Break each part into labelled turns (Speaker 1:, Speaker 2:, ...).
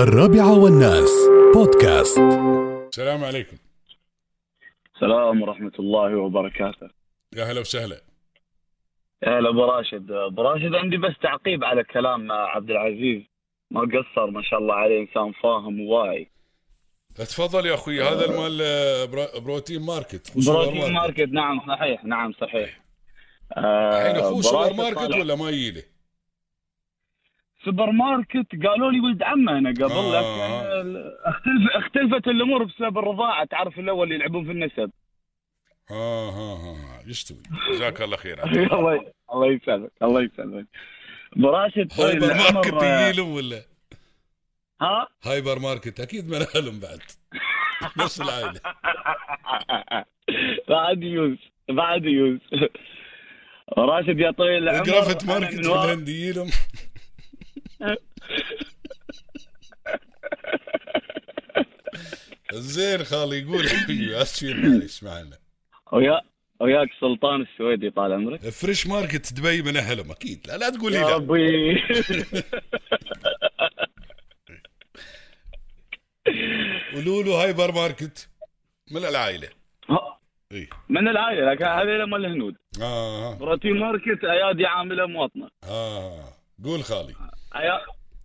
Speaker 1: الرابعة والناس بودكاست
Speaker 2: السلام عليكم
Speaker 3: السلام ورحمة الله وبركاته
Speaker 2: يا هلا وسهلا
Speaker 3: يا هلا أبو راشد أبو راشد عندي بس تعقيب على كلام عبد العزيز ما قصر ما شاء الله عليه إنسان فاهم وواعي
Speaker 2: تفضل يا اخوي هذا المال آه، برا- بروتين ماركت هو سوبر
Speaker 3: بروتين ماركت نعم صحيح نعم صحيح آه،
Speaker 2: الحين اخوه
Speaker 3: أبو
Speaker 2: سوبر
Speaker 3: راشد
Speaker 2: ماركت
Speaker 3: طالع-
Speaker 2: ولا ما يجي
Speaker 3: سوبر ماركت قالوا لي ولد عمه انا قبل
Speaker 2: آه.
Speaker 3: لكن ال- اختلف اختلفت الامور بسبب الرضاعه تعرف الاول اللي يلعبون في النسب
Speaker 2: ها ها ها يشتوي جزاك الله خير
Speaker 3: الله الله يسلمك الله يسلمك أبو راشد طويل
Speaker 2: هايبر
Speaker 3: العمر،
Speaker 2: ماركت
Speaker 3: آه،
Speaker 2: يجيلهم ولا
Speaker 3: ها
Speaker 2: هايبر ماركت اكيد منالهم بعد نفس العائله
Speaker 3: بعد يوز بعد يوز راشد يا طويل العمر
Speaker 2: جرافت
Speaker 3: أنا
Speaker 2: ماركت
Speaker 3: من
Speaker 2: في
Speaker 3: وا-
Speaker 2: الهند يجيلهم زين خالي يقول حبيبي اسفين معليش معنا
Speaker 3: ويا وياك سلطان السويدي طال عمرك
Speaker 2: فريش ماركت دبي من اهلهم اكيد لا لا تقول لي
Speaker 3: يا
Speaker 2: لا
Speaker 3: ربي
Speaker 2: ولولو هايبر ماركت من العائله اي
Speaker 3: من العائله لكن هذه مال الهنود
Speaker 2: اه آه.
Speaker 3: بروتين ماركت ايادي عامله مواطنه
Speaker 2: اه قول خالي
Speaker 3: أيا...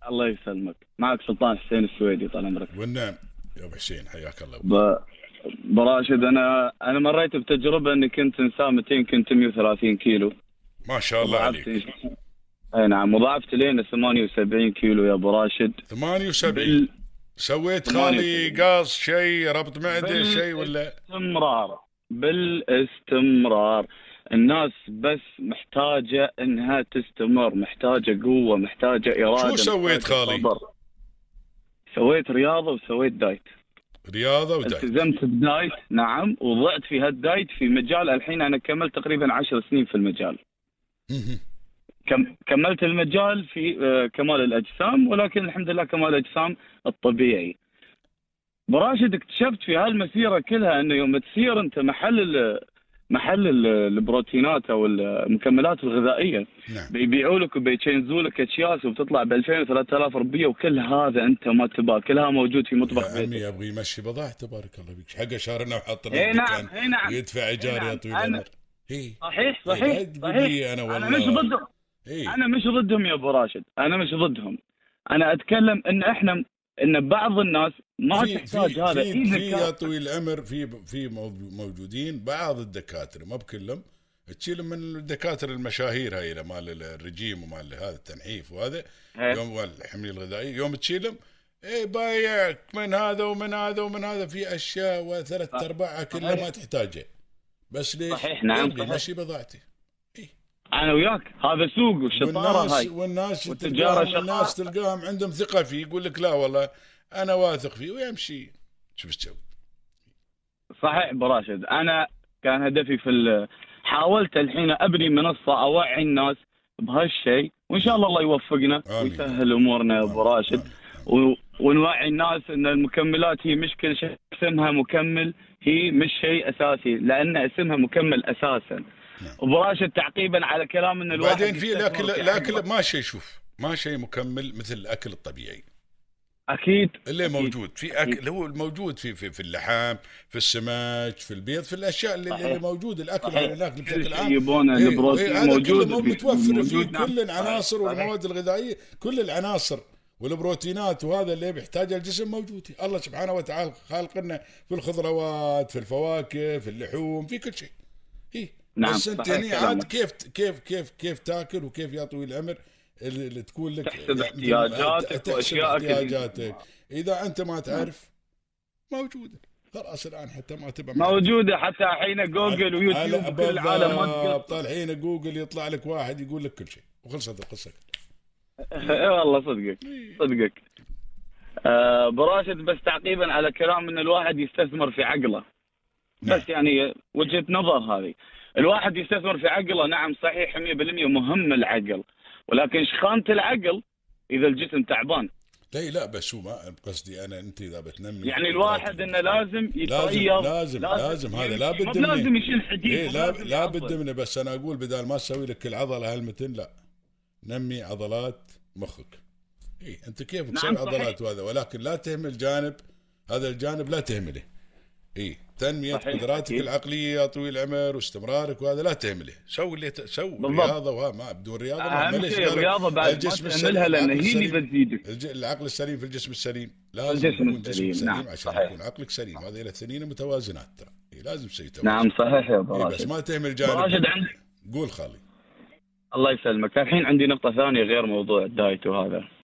Speaker 3: الله يسلمك معك سلطان حسين السويدي طال عمرك
Speaker 2: والنعم يا ابو حسين حياك الله
Speaker 3: ب... براشد انا انا مريت بتجربه اني كنت انسان 200 كنت 130 كيلو
Speaker 2: ما شاء الله عليك
Speaker 3: ضعفت اي نعم وضعفت لين 78 كيلو يا ابو راشد
Speaker 2: 78
Speaker 3: بال...
Speaker 2: سويت
Speaker 3: ثمانية
Speaker 2: خالي
Speaker 3: وسبعين.
Speaker 2: قاص شيء ربط معده
Speaker 3: بال-
Speaker 2: شيء ولا
Speaker 3: بالاستمرار بالاستمرار الناس بس محتاجة انها تستمر محتاجة قوة محتاجة ارادة
Speaker 2: شو سويت
Speaker 3: محتاجة
Speaker 2: خالي؟
Speaker 3: صبر. سويت رياضة وسويت دايت
Speaker 2: رياضه ودايت
Speaker 3: التزمت بدايت نعم وضعت في هالدايت في مجال الحين انا كملت تقريبا عشر سنين في المجال
Speaker 2: مهم.
Speaker 3: كم كملت المجال في آه، كمال الاجسام ولكن الحمد لله كمال الاجسام الطبيعي براشد اكتشفت في هالمسيره كلها انه يوم تصير انت محل ال- محل ال- البروتينات او المكملات الغذائيه
Speaker 2: نعم
Speaker 3: بيبيعوا لك وبيتشينزوا لك اكياس وبتطلع ب 2000 و3000 ربيه وكل هذا انت ما تباه كلها موجود في مطبخ
Speaker 2: يا
Speaker 3: بيتك
Speaker 2: عمي ابغى يمشي بضاعته بارك الله فيك حق شارنا وحط
Speaker 3: اي نعم
Speaker 2: لنا
Speaker 3: اي نعم
Speaker 2: يدفع ايجار يا
Speaker 3: نعم.
Speaker 2: طويل
Speaker 3: أنا-
Speaker 2: العمر اي
Speaker 3: صحيح
Speaker 2: لا
Speaker 3: صحيح
Speaker 2: يعني تقول
Speaker 3: صحيح
Speaker 2: لي انا والله
Speaker 3: انا مش ضدهم
Speaker 2: اي
Speaker 3: انا مش ضدهم يا ابو راشد انا مش ضدهم انا اتكلم ان احنا ان بعض الناس ما
Speaker 2: في-
Speaker 3: تحتاج
Speaker 2: في-
Speaker 3: هذا
Speaker 2: في, في يا
Speaker 3: إذا كان-
Speaker 2: طويل العمر في في مو- موجودين بعض الدكاتره ما بكلهم تشيلهم من الدكاتره المشاهير هاي مال الرجيم ومال هذا التنحيف وهذا
Speaker 3: إيه.
Speaker 2: يوم الحميه الغذائيه يوم تشيلهم اي بايعك من هذا ومن هذا ومن هذا في اشياء وثلاث
Speaker 3: صح.
Speaker 2: ارباعها كلها
Speaker 3: صحيح.
Speaker 2: ما تحتاجها بس ليش؟
Speaker 3: صحيح، نعم،
Speaker 2: يبغي
Speaker 3: صحيح.
Speaker 2: مشي بضاعتي
Speaker 3: انا وياك هذا سوق والشطاره
Speaker 2: والناس
Speaker 3: هاي
Speaker 2: والناس
Speaker 3: والتجارة
Speaker 2: تلقاهم
Speaker 3: شطارة.
Speaker 2: الناس تلقاهم عندهم ثقه فيه يقول لك لا والله انا واثق فيه ويمشي شوف ايش تسوي
Speaker 3: صحيح ابو راشد انا كان هدفي في ال- حاولت الحين ابني منصه اوعي الناس بهالشيء وان شاء الله الله يوفقنا
Speaker 2: آمين.
Speaker 3: ويسهل امورنا يا ابو راشد و- ونوعي الناس ان المكملات هي مشكله شيء اسمها مكمل هي مش شيء اساسي لان اسمها مكمل اساسا ابو راشد تعقيبا على كلام ان الواحد
Speaker 2: نعم. بعدين في
Speaker 3: يستثمر
Speaker 2: الاكل
Speaker 3: في
Speaker 2: الاكل
Speaker 3: عقله.
Speaker 2: ما شيء شوف ما شيء مكمل مثل الاكل الطبيعي
Speaker 3: اكيد
Speaker 2: اللي
Speaker 3: أكيد.
Speaker 2: موجود في اكل هو الموجود في في, في اللحام في السمك في البيض في الاشياء اللي,
Speaker 3: صحيح.
Speaker 2: اللي موجود الاكل
Speaker 3: صحيح.
Speaker 2: اللي ناكله
Speaker 3: كل
Speaker 2: بشكل
Speaker 3: شيء
Speaker 2: عام
Speaker 3: يبونه
Speaker 2: إيه،
Speaker 3: البروتين
Speaker 2: إيه، هذا
Speaker 3: موجود،
Speaker 2: كله
Speaker 3: في-
Speaker 2: متوفر فيه
Speaker 3: موجود، نعم.
Speaker 2: كل العناصر
Speaker 3: صحيح.
Speaker 2: والمواد الغذائيه كل العناصر والبروتينات وهذا اللي بيحتاجه الجسم موجود الله سبحانه وتعالى خالق لنا في الخضروات في الفواكه في اللحوم في كل شيء إيه.
Speaker 3: نعم،
Speaker 2: بس انت
Speaker 3: صحيح
Speaker 2: هني
Speaker 3: كلامك.
Speaker 2: عاد كيف كيف كيف كيف تاكل وكيف يا طويل العمر اللي اللي تكون لك
Speaker 3: تحسب
Speaker 2: مثل-
Speaker 3: احتياجاتك
Speaker 2: تحسب
Speaker 3: وأشياءك اللي-
Speaker 2: احتياجاتك اذا انت ما تعرف موجوده خلاص الان حتى ما تبقى
Speaker 3: موجوده حتى الحين جوجل ويوتيوب
Speaker 2: على-
Speaker 3: كل العالم ما
Speaker 2: بالضبط.
Speaker 3: تقصر
Speaker 2: الحين جوجل يطلع لك واحد يقول لك كل شيء وخلصت القصه
Speaker 3: إيه والله صدقك صدقك آه، براشد بس تعقيبا على كلام ان الواحد يستثمر في عقله
Speaker 2: نعم.
Speaker 3: بس يعني وجهه نظر هذه الواحد يستثمر في عقله نعم صحيح 100% مهم العقل ولكن شخانه العقل اذا الجسم تعبان
Speaker 2: لا لا بس هو ما قصدي انا انت اذا بتنمي
Speaker 3: يعني الواحد انه لازم يتغير
Speaker 2: لازم- لازم هذا، لا بد
Speaker 3: مو
Speaker 2: منه.
Speaker 3: لازم يشيل حديد
Speaker 2: إيه
Speaker 3: مو
Speaker 2: لا
Speaker 3: لازم
Speaker 2: لا
Speaker 3: يعضل.
Speaker 2: بد منه بس انا اقول بدل ما تسوي لك العضله هالمتن لا نمي عضلات مخك إيه انت كيفك
Speaker 3: نعم،
Speaker 2: سبع
Speaker 3: صحيح.
Speaker 2: عضلات وهذا ولكن لا تهمل جانب هذا الجانب لا تهمله اي تنمية
Speaker 3: صحيح،
Speaker 2: قدراتك
Speaker 3: أكيد.
Speaker 2: العقلية طويل العمر واستمرارك وهذا لا تهمله سوي اللي ت- سوي
Speaker 3: بالضبط.
Speaker 2: رياضة وها ما بدون رياضة ما
Speaker 3: اهم
Speaker 2: عملش
Speaker 3: شيء
Speaker 2: قالوا
Speaker 3: الرياضه بعد ما
Speaker 2: الجسم
Speaker 3: تعملها
Speaker 2: السليم،
Speaker 3: لان
Speaker 2: العقل
Speaker 3: هي اللي
Speaker 2: السليم.
Speaker 3: بتزيدك
Speaker 2: الج- العقل السليم في الجسم السليم لازم
Speaker 3: الجسم
Speaker 2: يكون جسم
Speaker 3: السليم،
Speaker 2: سليم
Speaker 3: نعم،
Speaker 2: عشان
Speaker 3: صحيح.
Speaker 2: يكون عقلك سليم هذه الاثنين متوازنات ترى إيه، لازم شيء توازن
Speaker 3: نعم صحيح يا
Speaker 2: إيه، بس
Speaker 3: براشد
Speaker 2: ما تهمل
Speaker 3: براشد
Speaker 2: جانب
Speaker 3: عندك
Speaker 2: قول خالي
Speaker 3: الله يسلمك الحين عندي نقطه ثانيه غير موضوع الدايت وهذا